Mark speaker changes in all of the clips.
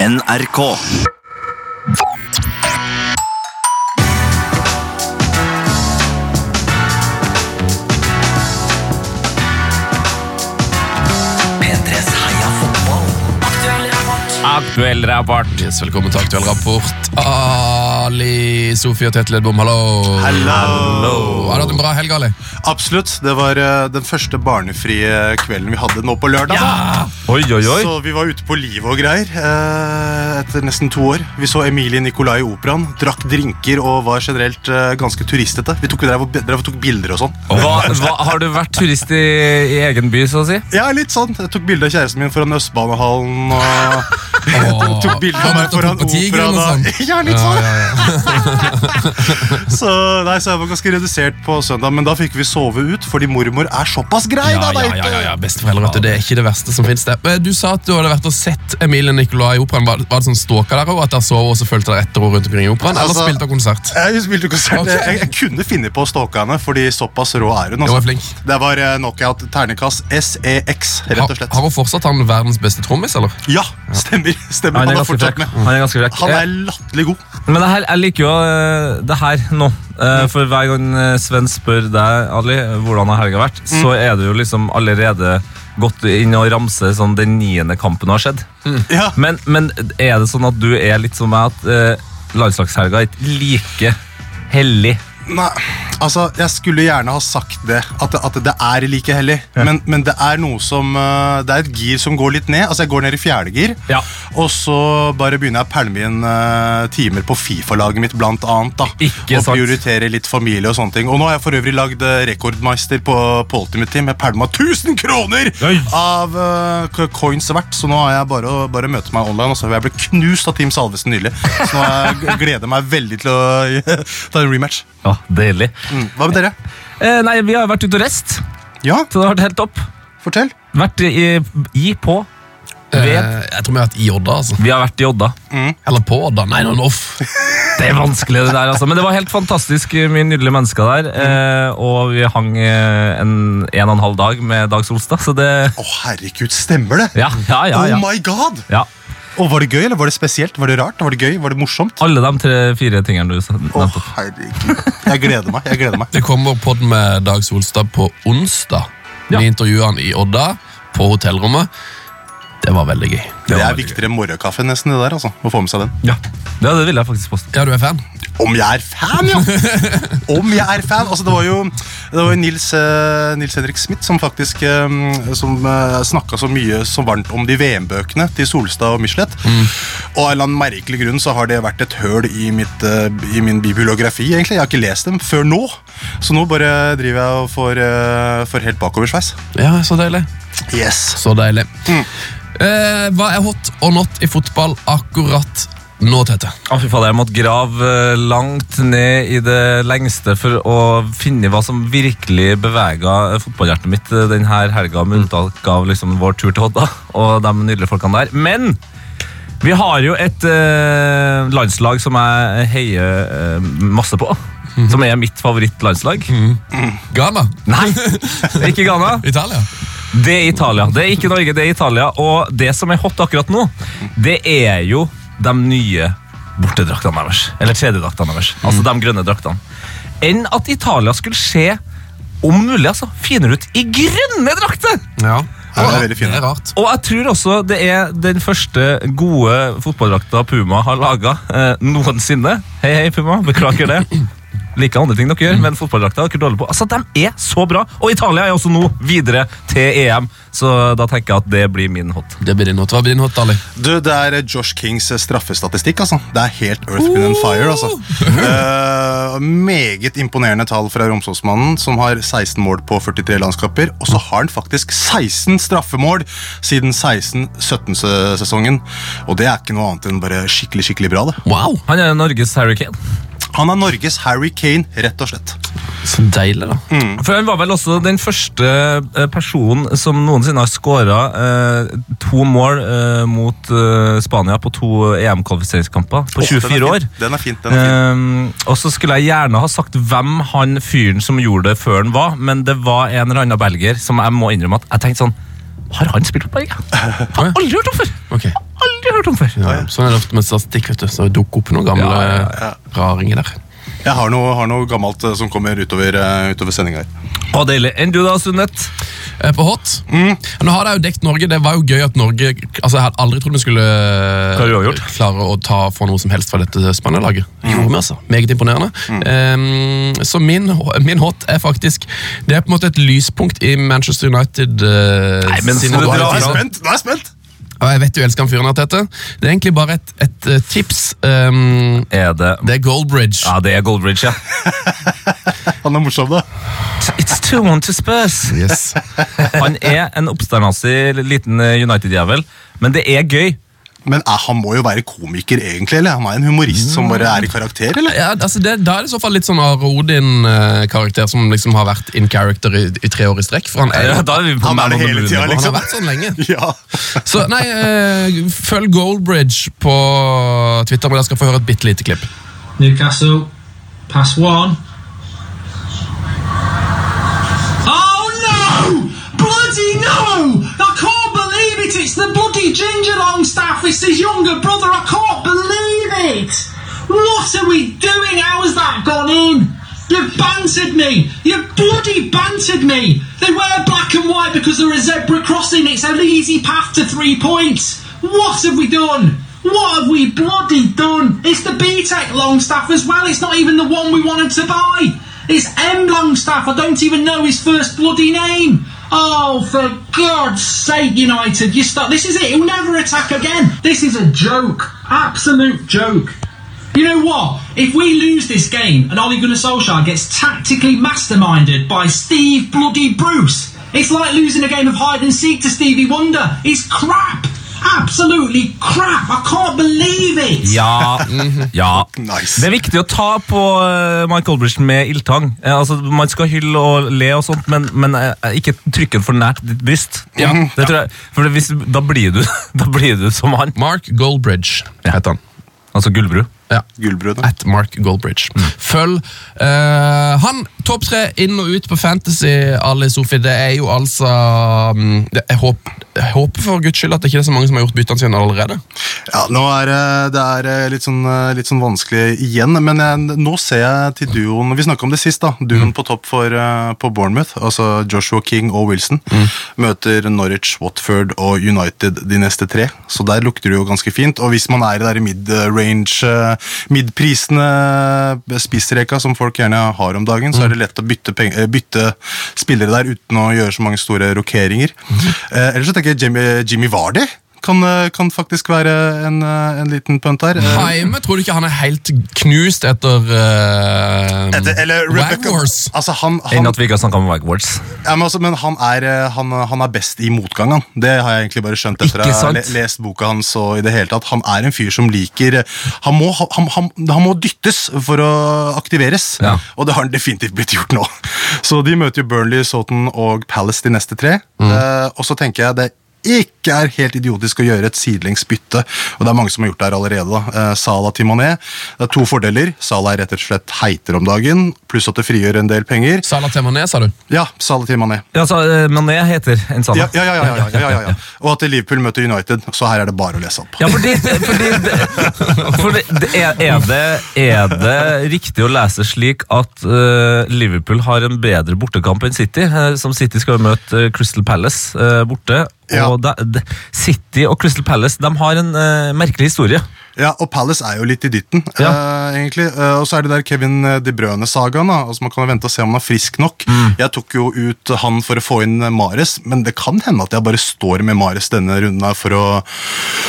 Speaker 1: NRK. P3s heia fotball.
Speaker 2: Aktuell rapport.
Speaker 3: Yes, velkommen til Aktuell rapport. Ali, Sofie og Tetled Bom, hallo.
Speaker 4: Hallo!
Speaker 3: Har du hatt en bra helg, Ali?
Speaker 4: Absolutt. Det var eh, den første barnefrie kvelden vi hadde nå på lørdag. da.
Speaker 2: Oi, oi, oi.
Speaker 4: Så vi var ute på livet og greier eh, etter nesten to år. Vi så Emilie Nicolai i operaen, drakk drinker og var generelt eh, ganske turistete. Vi tok, drev, og- drev og tok bilder og sånn.
Speaker 2: Hva, hva, har du vært turist i, i egen by, så å si?
Speaker 4: Ja, litt sånn. Jeg tok bilde av kjæresten min foran Østbanehallen og
Speaker 3: Åh,
Speaker 4: tok bilde av
Speaker 3: han
Speaker 4: meg
Speaker 3: har vært
Speaker 4: foran
Speaker 3: oppe på tigeren og
Speaker 4: operaen.
Speaker 3: sånn.
Speaker 4: da. Ja, litt sånn. Så, nei, så jeg var ganske redusert på søndag, men da fikk vi sove ut fordi mormor er såpass grei.
Speaker 3: Ja,
Speaker 4: da,
Speaker 3: ja,
Speaker 4: vet
Speaker 3: ja,
Speaker 4: du.
Speaker 3: ja, ja, besteforeldre, vet du, det er ikke det verste som finnes det. Men Eh, Du sa at du hadde vært og sett Emilie Nicolai i operaen. Var, var det sånn stalker der også, at dere sov og så fulgte dere etter henne rundt omkring i operaen, eller
Speaker 4: Altså-
Speaker 3: spilte dere konsert?
Speaker 4: Jeg spilte konsert.
Speaker 3: Ok.
Speaker 4: Jeg, jeg kunne finne på å stalke henne, fordi såpass rå er hun. altså.
Speaker 3: Det var flink.
Speaker 4: Det var eh, knockout ternekast SEX, E rett og slett.
Speaker 3: Har, har hun fortsatt han verdens beste trommis, eller?
Speaker 4: Ja, stemmer. stemmer.
Speaker 5: Han
Speaker 4: Han er
Speaker 5: er ganske
Speaker 4: fortsatt
Speaker 5: frekk.
Speaker 4: med.
Speaker 5: Han er ganske frekk.
Speaker 4: Han
Speaker 5: Eh,
Speaker 4: er latterlig god.
Speaker 5: Men det her, jeg liker jo eh, det her nå. Eh,
Speaker 4: Mm.
Speaker 5: For hver gang eh, Sven spør deg, Ali, hvordan har helga vært, så
Speaker 4: Mm.
Speaker 5: er du jo liksom allerede gått inn og ramse sånn den niende kampen har skjedd.
Speaker 4: Ja.
Speaker 5: Men, men er det sånn at du er litt som meg, at eh, landslagshelga er ikke like hellig?
Speaker 4: Nei, altså, jeg skulle gjerne ha sagt det, at, at det er like hellig. Men, men det er noe som eh, Det er et gir som går litt ned. Altså, jeg går ned i fjerde gir,
Speaker 5: Ja.
Speaker 4: og så bare begynner jeg å pælme inn eh, timer på Fifa-laget mitt, blant annet. da
Speaker 5: Ikke
Speaker 4: Og
Speaker 5: sant.
Speaker 4: prioritere litt familie og sånne ting. Og nå har jeg for øvrig lagd eh, rekordmeister på, på Ultimate Team. Jeg pælma 1000 kroner
Speaker 5: Oi.
Speaker 4: av eh, co- coins hvert, så nå har jeg bare å bare å møte meg online. Og så har jeg blitt knust av Team Salvesen nylig, så nå har jeg g- gleder meg veldig til å ta en rematch.
Speaker 5: Ja, deilig.
Speaker 4: Mm. Hva med dere?
Speaker 5: Eh, nei, vi har jo vært ute og reist,
Speaker 4: Ja,
Speaker 5: så det har vært helt topp.
Speaker 4: fortell.
Speaker 5: Vært i, i på.
Speaker 3: Eh,
Speaker 5: Ved.
Speaker 3: jeg tror vi har vært i Odda, altså.
Speaker 5: Vi har vært i Odda.
Speaker 3: Eller på Odda. Nei, nå er det off.
Speaker 5: Det er vanskelig, det der, altså. Men det var helt fantastisk eh, mye nydelige mennesker der.
Speaker 4: Mm.
Speaker 5: Eh, og vi hang eh, en, en og en halv dag med Dag Solstad, så det
Speaker 4: Å, herregud, stemmer det?
Speaker 5: Ja, ja, ja. ja.
Speaker 4: Oh my god!
Speaker 5: ja.
Speaker 4: Og Var det gøy, eller var det spesielt? Var det rart? Var det gøy? Var det morsomt?
Speaker 5: Alle de tre-fire tingene du sa.
Speaker 4: Å,
Speaker 5: nettopp.
Speaker 4: herregud. Jeg gleder meg. jeg gleder meg.
Speaker 3: Det kommer podden med Dag Solstad på onsdag.
Speaker 5: Ja.
Speaker 3: Vi intervjuer han i Odda, på hotellrommet. Det var veldig gøy.
Speaker 4: Det
Speaker 5: var
Speaker 4: er viktigere enn morgenkaffe, nesten. det der, altså. Å få med seg den.
Speaker 5: Ja. ja, det vil jeg faktisk påstå.
Speaker 3: Ja, du er fan?
Speaker 4: Om jeg er fan, ja! Om jeg er fan! Altså, Det var jo, det var jo Nils, eh, Nils Henrik Smith som faktisk eh, som, eh, snakka så mye så varmt om de VM-bøkene til Solstad og Michelet. Og av en eller annen merkelig grunn så har det vært et høl i, mitt, eh, i min bibliografi. egentlig. Jeg har ikke lest dem før nå, så nå bare driver jeg og får, eh, får helt bakoversveis.
Speaker 3: Ja, så deilig.
Speaker 4: Yes.
Speaker 3: Så deilig. Eh, hva er hot og not i fotball akkurat nå, Tete?
Speaker 5: Å, fy fader, jeg måtte grave eh, langt ned i det lengste for å finne hva som virkelig bevega fotballhjertet mitt eh, denne helga, med unntak av liksom vår tur til Odda og de nydelige folkene der. Men vi har jo et eh, landslag som jeg heier eh, masse på. Som er mitt favorittlandslag.
Speaker 3: Ghana?
Speaker 5: Nei, det er ikke Ghana.
Speaker 3: Italia?
Speaker 5: Det er Italia. Det er ikke Norge, det er Italia. Og det som er hot akkurat nå, det er jo de nye bortedraktene deres. Eller tredjedraktene deres. Altså de grønne draktene. Enn at Italia skulle se, om mulig, altså, finere ut i grønne drakter!
Speaker 3: Ja.
Speaker 4: Ja, det er veldig fint.
Speaker 3: Det er rart.
Speaker 5: Og jeg tror også det er den første gode fotballdrakta Puma har laga eh, noensinne. Hei, hei, Puma. Beklager det. Liker andre ting dere gjør, men fotballdrakta er dere dårlige på. Altså, De er så bra! Og Italia er også nå videre til EM, så da tenker jeg at det blir min hot.
Speaker 3: Det blir din hot. Hva blir din hot, Ali?
Speaker 4: Du, Det er eh, Josh Kings eh, straffestatistikk. altså. Det er helt earth, wind and fire. altså. Eh, meget imponerende tall fra Romsåsmannen, som har 16 mål på 43 landskamper. Og så har han faktisk 16 straffemål siden 16-17-sesongen. Og det er ikke noe annet enn bare skikkelig skikkelig bra. det.
Speaker 3: Wow!
Speaker 5: Han er Norges Harry Kane.
Speaker 4: Han er Norges Harry Kane, rett og slett.
Speaker 3: Så deilig, da.
Speaker 4: Mm.
Speaker 5: Mm. For han var vel også den første eh, personen som noensinne har skåra eh, to mål eh, mot eh, Spania på to EM-kvalifiseringskamper på
Speaker 4: Åh, den er
Speaker 5: 24 år.
Speaker 4: fin. Den er fint, den er fint.
Speaker 5: Um, og så skulle jeg gjerne ha sagt hvem han fyren som gjorde det før han var, men det var en eller annen belgier som jeg må innrømme at jeg tenkte sånn Har han spilt på Belgia? Har aldri hørt om før!
Speaker 3: Ok.
Speaker 5: aldri hørt om før.
Speaker 3: Ja, sånn er det ofte med statistikk. vet du, så dukker opp noen gamle
Speaker 5: Ja, ja,
Speaker 3: raringer der.
Speaker 5: Eh.
Speaker 4: Jeg har noe, har noe gammelt eh, som kommer utover, eh, utover sendinga her.
Speaker 5: Og deilig. Enn du da, Sunnet?
Speaker 3: Eh, På Hot.
Speaker 5: Mm.
Speaker 3: Nå har de jo dekt Norge. Det var jo gøy at Norge altså Jeg hadde aldri trodd vi skulle eh,
Speaker 5: Hva har du gjort? Mm.
Speaker 3: klare å ta få noe som helst fra dette Spania-laget. Gjorde vi, altså. Meget imponerende. Eh, så min, min hot er faktisk Det er på en måte et lyspunkt i Manchester United eh,
Speaker 5: Nei, men
Speaker 3: sin
Speaker 5: skal du
Speaker 3: moderne
Speaker 5: dra-
Speaker 4: Nå er jeg
Speaker 3: tid.
Speaker 4: spent! Nå er jeg spent.
Speaker 3: Ja, jeg vet du elsker han fyren her, Tete. Det er egentlig bare et, et eh, tips. Um,
Speaker 5: Er det
Speaker 3: det er Goldbridge.
Speaker 5: Ja, det er Goldbridge, ja.
Speaker 4: Han er morsom, da.
Speaker 5: It's two one to Spurs.
Speaker 3: Yes.
Speaker 5: Han er en oppsternasig liten eh, United-jævel, men det er gøy.
Speaker 4: Men eh, han må jo være komiker, egentlig? eller? Han er en humorist som bare er i karakter, eller?
Speaker 3: Ja, altså det, da er det i så fall litt sånn Are Odin-karakter som liksom har vært in character i, i tre år i strekk. For han er,
Speaker 5: Ja, da er vi på
Speaker 4: Han er
Speaker 5: Man
Speaker 4: det
Speaker 5: on the
Speaker 4: hele
Speaker 5: Moon.
Speaker 4: tida,
Speaker 3: han har
Speaker 4: liksom.
Speaker 3: vært sånn lenge.
Speaker 4: Ja.
Speaker 3: Så nei, eh, følg Goldbridge på Twitter, men dere skal få høre et bitte lite klipp.
Speaker 6: Newcastle, pass one. Oh no! Bloody no! I can't believe it! It's the bloody Ginger Longstaff! It's his younger brother! I can't believe it! What are we doing? How has that gone in? You've bantered me! You've bloody bantered me! They wear black and white because they're a zebra crossing. It's an easy path to three points. What have we done? What have we bloody done? It's the BTEC Longstaff as well. It's not even the one we wanted to buy. It's M Longstaff. I don't even know his first bloody name. Oh, for God's sake, United! You stop. This is it. He'll never attack again. This is a joke. Absolute joke. You know what? If we lose this game and Ole Gunnar Solskjaer gets tactically masterminded by Steve bloody Bruce, it's like losing a game of hide and seek to Stevie Wonder. It's crap. Absolutely crap. I can't believe it.
Speaker 5: Ja. ja.
Speaker 4: Nice.
Speaker 5: Det er viktig å ta på eh, Mike Goldbridge med ildtang. Eh, Altså, man skal hylle og le, og sånt, men, men eh, ikke trykke den for nært ditt bryst.
Speaker 3: Ja.
Speaker 5: Det tror jeg, for hvis, da, blir du, da blir du som han.
Speaker 3: Mark Goldbridge heter han.
Speaker 5: Altså Gullbru.
Speaker 3: Ja.
Speaker 4: Gullbrødet.
Speaker 3: At Mark Goldbridge.
Speaker 5: Mm.
Speaker 3: Følg eh, han. Topp tre inn og ut på Fantasy, Ali Sofi. Det er jo altså mm, det, jeg, håper, jeg håper for guds skyld at det ikke er så mange som har gjort byttene sine allerede.
Speaker 4: Ja, nå er eh, det er eh, litt sånn, eh, litt sånn vanskelig igjen, men jeg, nå ser jeg til duoen Vi snakka om det sist, da. Duoen på topp for, eh, på Bournemouth, altså Joshua King og Wilson, møter Norwich, Watford og United de neste tre. Så der lukter det jo ganske fint. Og hvis man er i der mid-range, eh, midprisene, eh, spissreka som folk gjerne har om dagen, så er det lett å bytte, peng- eh, bytte spillere der uten å gjøre så mange store rokeringer. Eh, Ellers så tenker jeg Jimmy, Jimmy Vardy kan, eh, kan faktisk være en, eh, en liten punt her. Eh,
Speaker 3: Haime, tror du ikke han er helt knust etter uh,
Speaker 4: etter- eller Rebecca
Speaker 3: Wars?
Speaker 4: altså han, han,
Speaker 5: Enn at vi ikke har snakka om Wagwards.
Speaker 4: ja, men, altså, men han, er, eh, han, han er best i motgang, han. Det har jeg egentlig bare skjønt etter
Speaker 5: Ikke
Speaker 4: å ha
Speaker 5: sant?
Speaker 4: le, lest boka hans. og i det hele tatt. Han er en fyr som liker Han må, ha- han, han, han må dyttes for å aktiveres,
Speaker 5: Ja.
Speaker 4: og det har han definitivt blitt gjort nå. Så de møter jo Burnley, Soughton og Palace de neste tre.
Speaker 5: Mm.
Speaker 4: Eh, og så tenker jeg det ikke er helt idiotisk å gjøre et sidelengs bytte, og det er mange som har gjort det her allerede. da. Eh, Salah til Mané. Det er to fordeler. Salah er rett og slett heiter om dagen, pluss at det frigjør en del penger.
Speaker 3: Salah Temané, sa du?
Speaker 4: Ja, Salah til Mané.
Speaker 5: Ja, altså, eh, Mané heter en sann.
Speaker 4: Ja, ja, ja, ja, ja, ja, ja, ja, ja. Og at Liverpool møter United, så her er det bare å lese opp.
Speaker 5: Ja, fordi, fordi, fordi det er, er, det, er det riktig å lese slik at eh, Liverpool har en bedre bortekamp enn City? eh, som City skal jo møte eh, Crystal Palace eh, borte.
Speaker 4: Ja.
Speaker 5: Og da- de, City og Crystal Palace de har en eh, merkelig historie.
Speaker 4: Ja, Og Palace er jo litt i dytten, eh, egentlig. Eh, og så er det der Kevin eh, De Brøne-sagaen. da. Altså, man kan jo vente og se om han er frisk nok.
Speaker 5: Mm.
Speaker 4: Jeg tok jo ut han for å få inn eh, Mares, men det kan hende at jeg bare står med Mares denne runden her for å,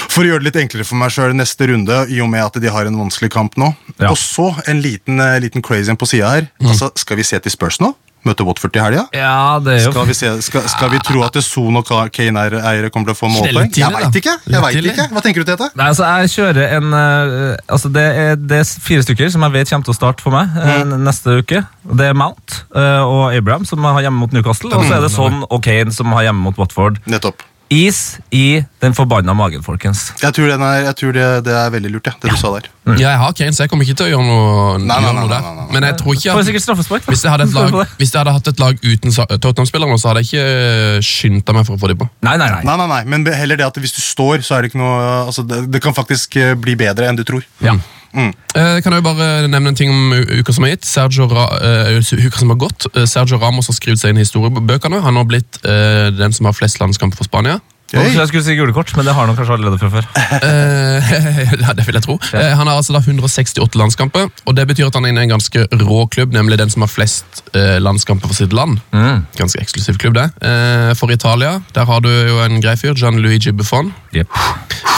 Speaker 4: for å gjøre det litt enklere for meg sjøl neste runde, i og med at de har en vanskelig kamp nå.
Speaker 5: Ja. Mm.
Speaker 4: Og så en liten, eh, liten crazy en på sida her. Altså, Skal vi se til Spurs nå? Møte Watford i helga?
Speaker 5: Ja, det er
Speaker 4: Skal vi, se, skal, skal vi tro at Son og Ka- Kane-eiere kommer til å få målpoeng?
Speaker 3: litt tidlig,
Speaker 4: Jeg
Speaker 3: da.
Speaker 4: veit ikke. jeg
Speaker 3: Litt
Speaker 4: vet
Speaker 3: tidlig.
Speaker 4: ikke. Hva tenker du til dette?
Speaker 5: Nei, altså Jeg kjører en eh, Altså Det er, det er fire stykker som jeg vet kommer til å starte for meg eh,
Speaker 4: Mm.
Speaker 5: neste uke. Det er
Speaker 4: Mm.
Speaker 5: Mount eh, og Abraham, som har hjemme mot Newcastle. Og så er det Son og Kane, som har hjemme mot Watford.
Speaker 4: Nettopp.
Speaker 5: Is i den forbanna magen, folkens.
Speaker 4: Jeg tror, den er, jeg tror det, det er veldig lurt, ja, det du sa der.
Speaker 5: Mm.
Speaker 3: Ja, jeg har Kane, så jeg kommer ikke til å gjøre noe,
Speaker 4: Nei, nei,
Speaker 3: gjøre
Speaker 4: nei,
Speaker 3: noe
Speaker 4: nei,
Speaker 3: der.
Speaker 4: nei, nei.
Speaker 3: Men jeg tror ikke
Speaker 5: Får
Speaker 3: at
Speaker 5: sikkert straffespark. da.
Speaker 3: hvis jeg hadde, et lag,
Speaker 5: Får det.
Speaker 3: hvis jeg hadde hatt et lag uten Sa- Tottenham-spillere, nå, så hadde jeg ikke skynda meg for å få dem på.
Speaker 5: Nei, nei, nei.
Speaker 4: Nei, nei, nei, men heller det at hvis du står, så er det ikke noe altså Det, det kan faktisk eh, bli bedre enn du tror.
Speaker 3: Ja.
Speaker 4: Mm.
Speaker 3: Eh, kan jeg jo bare nevne en ting om u- uka som er gitt. Sergio Ra eh, uka som har gått. Eh, Sergio Ramos har skrevet seg inn i historiebøkene. Han har blitt eh, den som har flest landskamper for Spania.
Speaker 5: Jeg
Speaker 4: Hey.
Speaker 5: trodde jeg skulle si gule kort, men det har han kanskje allerede fra før.
Speaker 3: Eh, ja, det vil jeg tro. Eh, han har altså da 168 landskamper, og det betyr at han er inne i en ganske rå klubb, nemlig den som har flest eh, landskamper for sitt land.
Speaker 5: Mm.
Speaker 3: Ganske eksklusiv klubb, det. Eh, for Italia der har du jo en grei fyr, Gianluigi Buffon.
Speaker 5: Jep.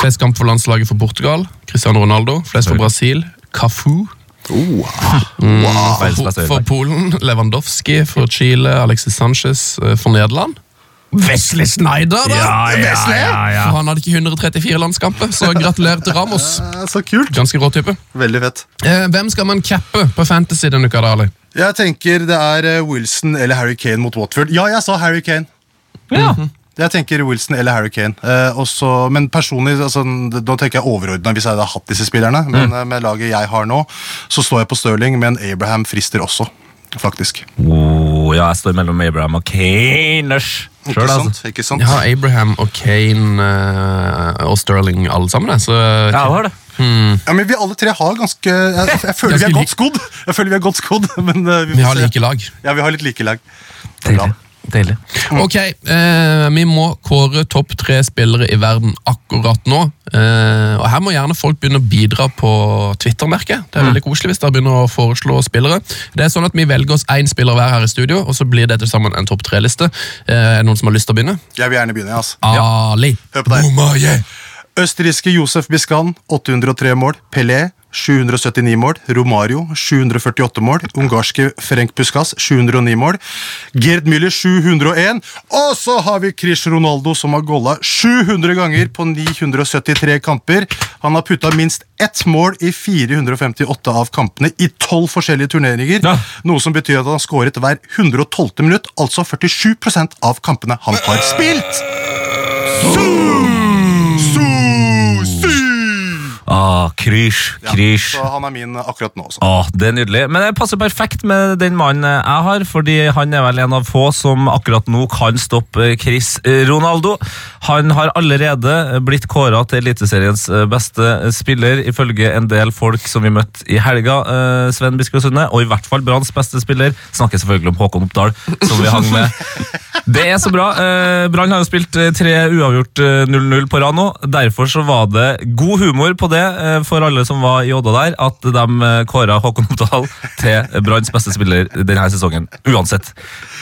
Speaker 3: Flest kamp for landslaget for Portugal, Cristiano Ronaldo. Flest for Brasil, Cafu.
Speaker 4: Ah,
Speaker 5: Verdens
Speaker 3: For,
Speaker 5: beste
Speaker 3: for
Speaker 5: høyreback.
Speaker 3: Polen, Lewandowski. For Chile, Alexis Sanchez. eh, For Nederland Wesley Snyder, da!
Speaker 5: ja, ja, ja.
Speaker 3: For han hadde ikke 134 landskamper, så gratulerer til Ramos.
Speaker 4: Eh, Så kult.
Speaker 3: Ganske rå type.
Speaker 4: Veldig fett.
Speaker 3: Eh, hvem skal man cappe på Fantasy denne uka, da, Ali?
Speaker 4: Jeg tenker det er eh, Wilson eller Harry Kane mot Watford. Ja, jeg sa Harry Kane.
Speaker 5: Ja.
Speaker 4: Jeg tenker Wilson eller Harry Kane. Eh, også, men personlig, altså, det- nå tenker jeg overordna hvis jeg hadde hatt disse spillerne. Men
Speaker 3: Mm.
Speaker 4: eh, med laget jeg har nå, så står jeg på Stirling, men Abraham frister også. Faktisk.
Speaker 5: Oh, ja, jeg står mellom Abraham og Kaners.
Speaker 4: Ikke
Speaker 5: altså.
Speaker 4: sant? Ikke sant?
Speaker 3: altså. Jeg har Abraham og Kane eh, og Sterling alle sammen. jeg, Så eh,
Speaker 5: Ja, det var det.
Speaker 4: Ja, men vi alle tre har ganske Jeg, jeg føler vi
Speaker 3: Ganske
Speaker 4: er
Speaker 3: lik.
Speaker 4: godt skodd, Jeg føler vi er godt skodd, men eh, vi,
Speaker 3: vi
Speaker 4: får
Speaker 3: har
Speaker 4: se.
Speaker 3: like lag.
Speaker 4: Ja, vi har litt like lag.
Speaker 5: Deilig. Deilig.
Speaker 4: Mm.
Speaker 3: Ok, eh, vi må kåre topp tre spillere i verden akkurat nå. Eh, og Her må gjerne folk begynne å bidra på Twitter-merket. Det er
Speaker 4: Mm.
Speaker 3: veldig koselig hvis dere begynner å foreslå spillere. Det er sånn at Vi velger oss én spiller hver her i studio, og så blir det til sammen en topp tre-liste. Eh, er det noen som har lyst til å begynne?
Speaker 4: Jeg vil gjerne begynne. Altså.
Speaker 3: Ali.
Speaker 4: Hør på deg.
Speaker 3: Omaye.
Speaker 4: Østerrikske Josef Biskan, 803 mål. Pelé, 779 mål. Romario, 748 mål. Ungarske Frenk Puskas, 709 mål. Gerd Müller, 701. Og så har vi Chris Ronaldo, som har golla 700 ganger på 973 kamper. Han har putta minst ett mål i 458 av kampene i 12 forskjellige turneringer.
Speaker 5: Ja.
Speaker 4: Noe som betyr at han har skåret hver 112. minutt, altså 47 av kampene han har spilt.
Speaker 5: Ah, Krysh. Krysh.
Speaker 4: Så han er min akkurat nå også.
Speaker 5: Åh, det er nydelig. Men det passer perfekt med den mannen jeg har, fordi han er vel en av få som akkurat nå kan stoppe Chris Ronaldo. Han har allerede blitt kåra til Eliteseriens eh, beste spiller, ifølge en del folk som vi møtte i helga, eh, Sven Biskov Sunde, og i hvert fall Branns beste spiller. Snakker selvfølgelig om Håkon Oppdal, som vi hang med. Det er så bra. Eh, Brann har jo spilt eh, tre uavgjort eh, 0-0 på rad nå. Derfor så var det god humor på det eh, for alle som var i Odda der, at de eh, kåra Håkon Oppdal til Branns beste spiller denne sesongen. Uansett.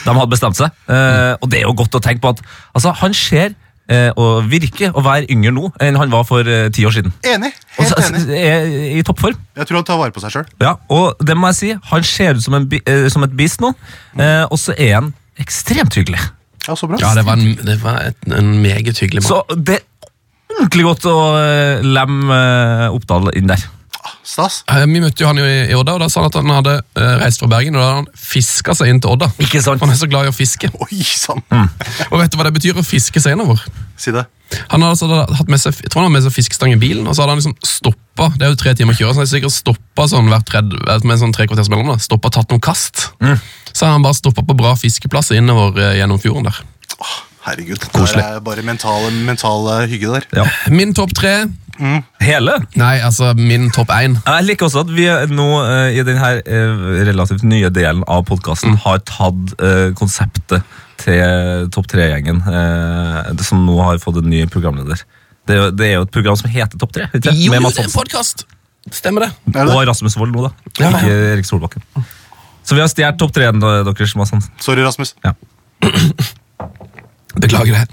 Speaker 5: De hadde bestemt seg. Eh, Og det er jo godt å tenke på at altså, han ser eh, og virker å være yngre nå enn han var for eh, ti år siden.
Speaker 4: Enig.
Speaker 5: Og så, altså,
Speaker 4: Helt enig.
Speaker 5: er i toppform.
Speaker 4: Jeg tror han tar vare på seg sjøl.
Speaker 5: Ja, og det må jeg si, han ser ut som, en, bi- eh, som et beast nå, eh, og så er han ekstremt hyggelig.
Speaker 4: Ja, så bra.
Speaker 3: Ja, det var en, det var et, en meget hyggelig mann.
Speaker 5: Så det er ordentlig godt å eh, lemme eh, Oppdal inn der.
Speaker 4: Ah, Stas.
Speaker 3: Eh, Vi møtte jo han jo i, i Odda, og da sa han at han hadde eh, reist fra Bergen, og da hadde han fiska seg inn til Odda.
Speaker 5: Ikke sant?
Speaker 3: For Han er så glad i å fiske.
Speaker 4: Oi sann!
Speaker 3: Og vet du hva det betyr å fiske seg innover?
Speaker 4: Si det.
Speaker 3: Han hadde altså da hatt med seg, jeg tror han hadde med seg fiskestang i bilen, og så hadde han liksom stoppa. Det er jo tre timer å kjøre, så han hadde sikkert stoppa sånn hvert tredje, med sånn tre kvarters mellom. da, Stoppa tatt noen kast.
Speaker 5: Mm.
Speaker 3: Så har han bare stoppa på bra fiskeplasser innover eh, gjennom fjorden der.
Speaker 4: Herregud. Det er bare mental, mental eh, hygge der.
Speaker 3: Min topp tre
Speaker 5: Hele?
Speaker 3: Nei, altså min topp én.
Speaker 5: Jeg liker også at vi er nå eh, i denne relativt nye delen av podkasten har tatt eh, konseptet til Topp 3-gjengen, eh, det som nå har fått en ny programleder. Det er, jo, det er jo et program som heter Topp 3, ikke?
Speaker 3: Jo,
Speaker 5: med
Speaker 3: det
Speaker 5: Mads
Speaker 3: er en
Speaker 5: Hansen
Speaker 3: podkast! Stemmer det.
Speaker 4: Er det
Speaker 5: og
Speaker 4: det?
Speaker 5: Rasmus Wold nå, da.
Speaker 3: Ja, ja.
Speaker 5: Ikke Erik Solbakken. Så vi har stjålet Topp 3-en eh, deres, Mads Hansen.
Speaker 4: Sorry, Rasmus.
Speaker 3: Beklager det.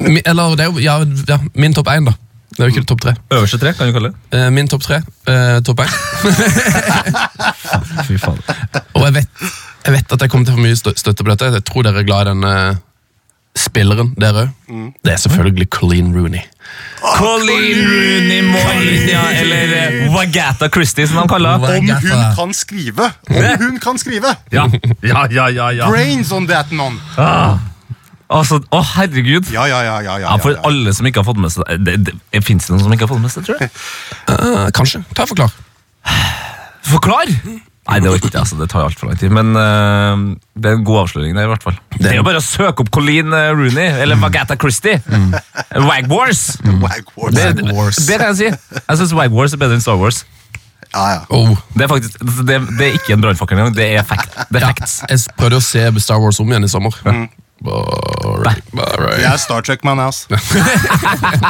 Speaker 3: Mi- Eller det er jo ja, ja, min topp én, da. Det er jo ikke topp tre.
Speaker 5: Øverste tre, kan du kalle det.
Speaker 3: Eh, Min topp tre. eh, topp én.
Speaker 5: Fy faen.
Speaker 3: Og jeg vet, jeg vet at jeg kommer til å få mye stø- støtte på dette. Jeg tror dere er glad i den eh, spilleren, dere òg. Det er selvfølgelig Colleen Rooney.
Speaker 5: Colleen Rooney Moynia, eller eh, Wagata Christie, som de kaller
Speaker 3: Hva-
Speaker 5: henne.
Speaker 4: Om
Speaker 3: jeg
Speaker 4: hun
Speaker 3: gaffer.
Speaker 4: kan skrive! Om hun kan skrive!
Speaker 5: Ja, ja, ja, ja, ja.
Speaker 4: Brains on that non!
Speaker 5: Ah. Altså, å, herregud!
Speaker 4: Ja, ja, ja. ja, ja,
Speaker 5: Ja, for
Speaker 4: ja, ja.
Speaker 5: alle som ikke har fått med seg det, det, det Fins det noen som ikke har fått med seg tror jeg?
Speaker 3: Eh, kanskje. Ta og Forklar.
Speaker 5: Forklar! Nei, det orker jeg ikke. Altså, det tar altfor lang tid. Men eh, det er en god avsløring der, i hvert fall. Det er jo bare å søke opp Colleen eh, Rooney eller Vagatha Christie. Wag Wars!
Speaker 4: Wag Wars.
Speaker 5: Det, det kan jeg si. Jeg syns Wag Wars er bedre enn Star Wars.
Speaker 4: Ja, ja.
Speaker 3: Oh.
Speaker 5: Det er faktisk, det, det er ikke en brannfakkel engang. Det er fact. Det er facts.
Speaker 3: Jeg s- prøvde å se Star Wars om igjen i sommer. Alright, alright.
Speaker 4: Jeg er Star Trek-man, jeg, ass.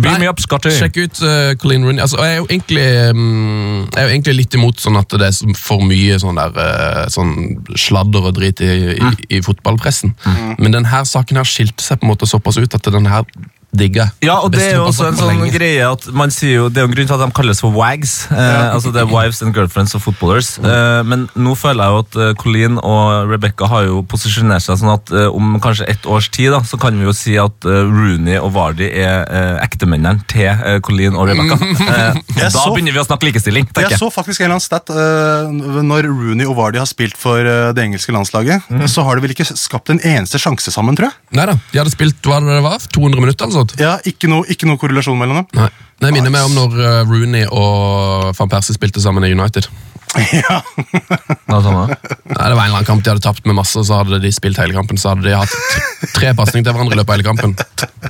Speaker 5: Beam me up, Scotty.
Speaker 3: Sjekk ut eh, Colleen Rooney. Altså, jeg, er jo egentlig, mm, jeg er jo egentlig litt imot sånn at det er så- for mye sånn, der, eh, sånn sladder og drit i,
Speaker 5: Mm.
Speaker 3: i, i fotballpressen. Men denne saken her skilte seg på en måte såpass ut at den her digger jeg.
Speaker 5: Ja, og det
Speaker 3: Beste
Speaker 5: er jo også en
Speaker 3: fotballsaken på
Speaker 5: sånn
Speaker 3: lenge.
Speaker 5: greie at man sier jo, Det er jo en grunn til at de kalles for wags. Eh, altså det er Wives and girlfriends og footballers. Eh, men nå føler jeg jo at eh, Colleen og Rebecca har jo posisjonert seg sånn at eh, om kanskje ett års tid da, så kan vi jo si at eh, Rooney og Vardy er eh, ektemennene til eh, Colleen og Rebecca. Eh, da
Speaker 4: Jeg så-
Speaker 5: begynner vi å snakke likestilling.
Speaker 4: Jeg
Speaker 5: tenker jeg.
Speaker 4: så faktisk en eller annen stat eh, Når Rooney og Vardy har spilt for eh, det engelske landslaget, så har de vel ikke skapt en eneste sjanse sammen, tror jeg.
Speaker 3: Neida, de hadde spilt hva det var, 200 minutter eller sånt.
Speaker 4: Ja, Ikke noe, ikke noe korrelasjon mellom dem.
Speaker 3: Nei. Nei, jeg minner meg om når eh, Rooney og van Persie spilte sammen i United.
Speaker 4: Ja.
Speaker 5: Noe sånt, da.
Speaker 3: Nei, det var en eller annen kamp de hadde tapt med masse, og så hadde de spilt hele kampen. Så hadde de hatt t- tre pasninger til hverandre i løpet av hele kampen.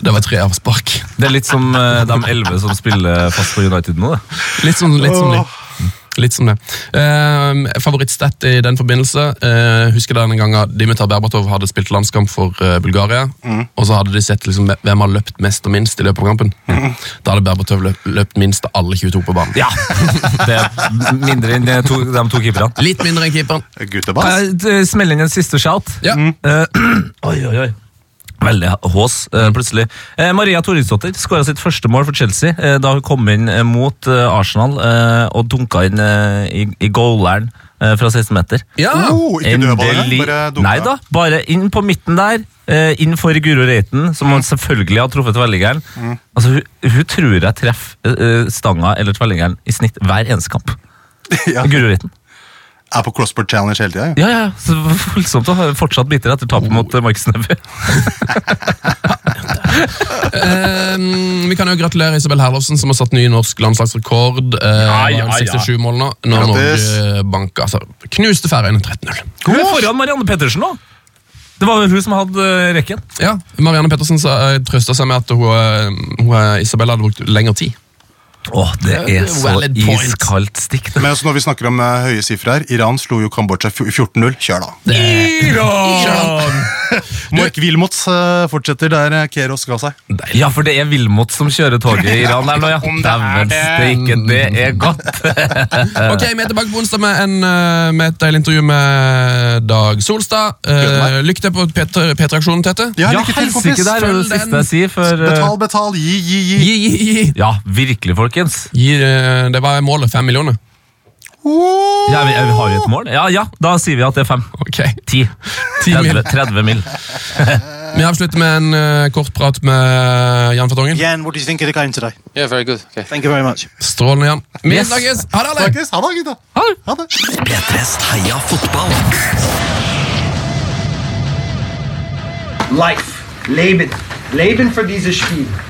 Speaker 3: Det var tre avspark.
Speaker 5: Det er litt som eh, de elleve som spiller fast for United nå. Det.
Speaker 3: Litt som, litt som de. Litt som det. Um, Favorittstat i den forbindelse eh, Husker dere den gangen Dimitar Berbatov hadde spilt landskamp for eh, Bulgaria?
Speaker 5: Mm.
Speaker 3: Og så hadde de sett liksom, hvem har løpt mest og minst i løpet av kampen. Da hadde Berbatov løpt, løpt minst av alle 22 på banen.
Speaker 5: Mm. Ja, det er mindre enn de to, de to keeperne.
Speaker 3: Litt mindre enn keeperen.
Speaker 4: Guttebass.
Speaker 5: Kan jeg eh, smelle inn en siste shout?
Speaker 3: Ja.
Speaker 5: Eh, oi, oi, oi. Veldig hås, eh, plutselig. Eh, Maria Thoridsdottir skåra sitt første mål for Chelsea eh, da hun kom inn eh, mot eh, Arsenal eh, og dunka inn eh, i, i goaleren eh, fra 16 meter.
Speaker 3: Ja!
Speaker 4: Oh, ikke dødballer,
Speaker 5: Endelig-
Speaker 4: bare dunka.
Speaker 5: Nei da, bare inn på midten der. eh, Inn for Guro Reiten, som han selvfølgelig har truffet tvellingeren.
Speaker 4: Mm.
Speaker 5: Altså, hun, hun tror jeg treffer eh, eh, stanga eller tvellingeren i snitt hver eneste kamp.
Speaker 4: Ja.
Speaker 5: Guro Reiten.
Speaker 4: Er på Crossboard Challenge hele tida. Ja.
Speaker 5: Ja, ja, ja. så voldsomt å ha fortsatt biter etter tapet mot eh, Markus Neby.
Speaker 3: Um, vi kan jo gratulere Isabel Herlovsen, som har satt ny norsk landslagsrekord. Uh,
Speaker 5: ja, ja.
Speaker 3: 67 mål nå. Når
Speaker 4: Grattis.
Speaker 3: Norge banka altså, Knuste Færøyene 13-0.
Speaker 5: Hun er foran Marianne Pettersen nå! Det var vel hun som hadde eh, rekken.
Speaker 3: Ja, Marianne Pettersen sa- trøsta seg med at hun, eh, hun, eh, Isabel hadde brukt lengre tid.
Speaker 5: Åh, det er så
Speaker 3: Valid point.
Speaker 5: iskaldt stikk.
Speaker 4: Men også når vi snakker om eh, høye sifre her, Iran slo jo Kambodsja fj- 14-0. Kjør, da.
Speaker 5: Iran!
Speaker 4: Mark Wilmots eh, fortsetter der eh, Keros ga seg.
Speaker 5: Ja, for det er Vilmot som kjører toget i Iran der nå, ja.
Speaker 4: Om det er
Speaker 5: Dæven
Speaker 4: det.
Speaker 5: steike, det er godt!
Speaker 4: Eh.
Speaker 3: Ok, Vi er tilbake på onsdag med, en, eh, med et deilig intervju med Dag Solstad.
Speaker 4: Gleder
Speaker 3: Uh,
Speaker 4: meg.
Speaker 3: Lykke til på P3- P3-aksjonen, Tete.
Speaker 4: Ja,
Speaker 5: Ja,
Speaker 4: lykke til,
Speaker 5: helsike,
Speaker 4: kompis.
Speaker 5: det er jo det
Speaker 3: Følg
Speaker 5: siste
Speaker 3: den.
Speaker 5: jeg sier før eh,
Speaker 4: Betal, betal, gi, gi, gi.
Speaker 3: Gi, gi, gi.
Speaker 5: Ja, virkelig, folkens.
Speaker 3: Gi, eh, det var målet. Fem millioner.
Speaker 5: Ja, vi, vi har jo et mål. Ja, ja, da sier vi at det er fem.
Speaker 3: Ok.
Speaker 5: Ti.
Speaker 3: 10 mil.
Speaker 5: 30, 30 mil.
Speaker 3: Vi avslutter med en eh, kort prat med eh, Jan Fartongen.
Speaker 7: Jan, what do you think of the game today?
Speaker 8: Yeah, very good. Okay.
Speaker 7: Thank you very much.
Speaker 3: Strålende, Jan. Vi
Speaker 5: Yes.
Speaker 3: snakkes! Ha det, alle!
Speaker 4: Snakkes. Ha det, gutta. Ha det.
Speaker 1: P3s Heia fotball.
Speaker 9: Life. Leben. Leben für dieses Spiel.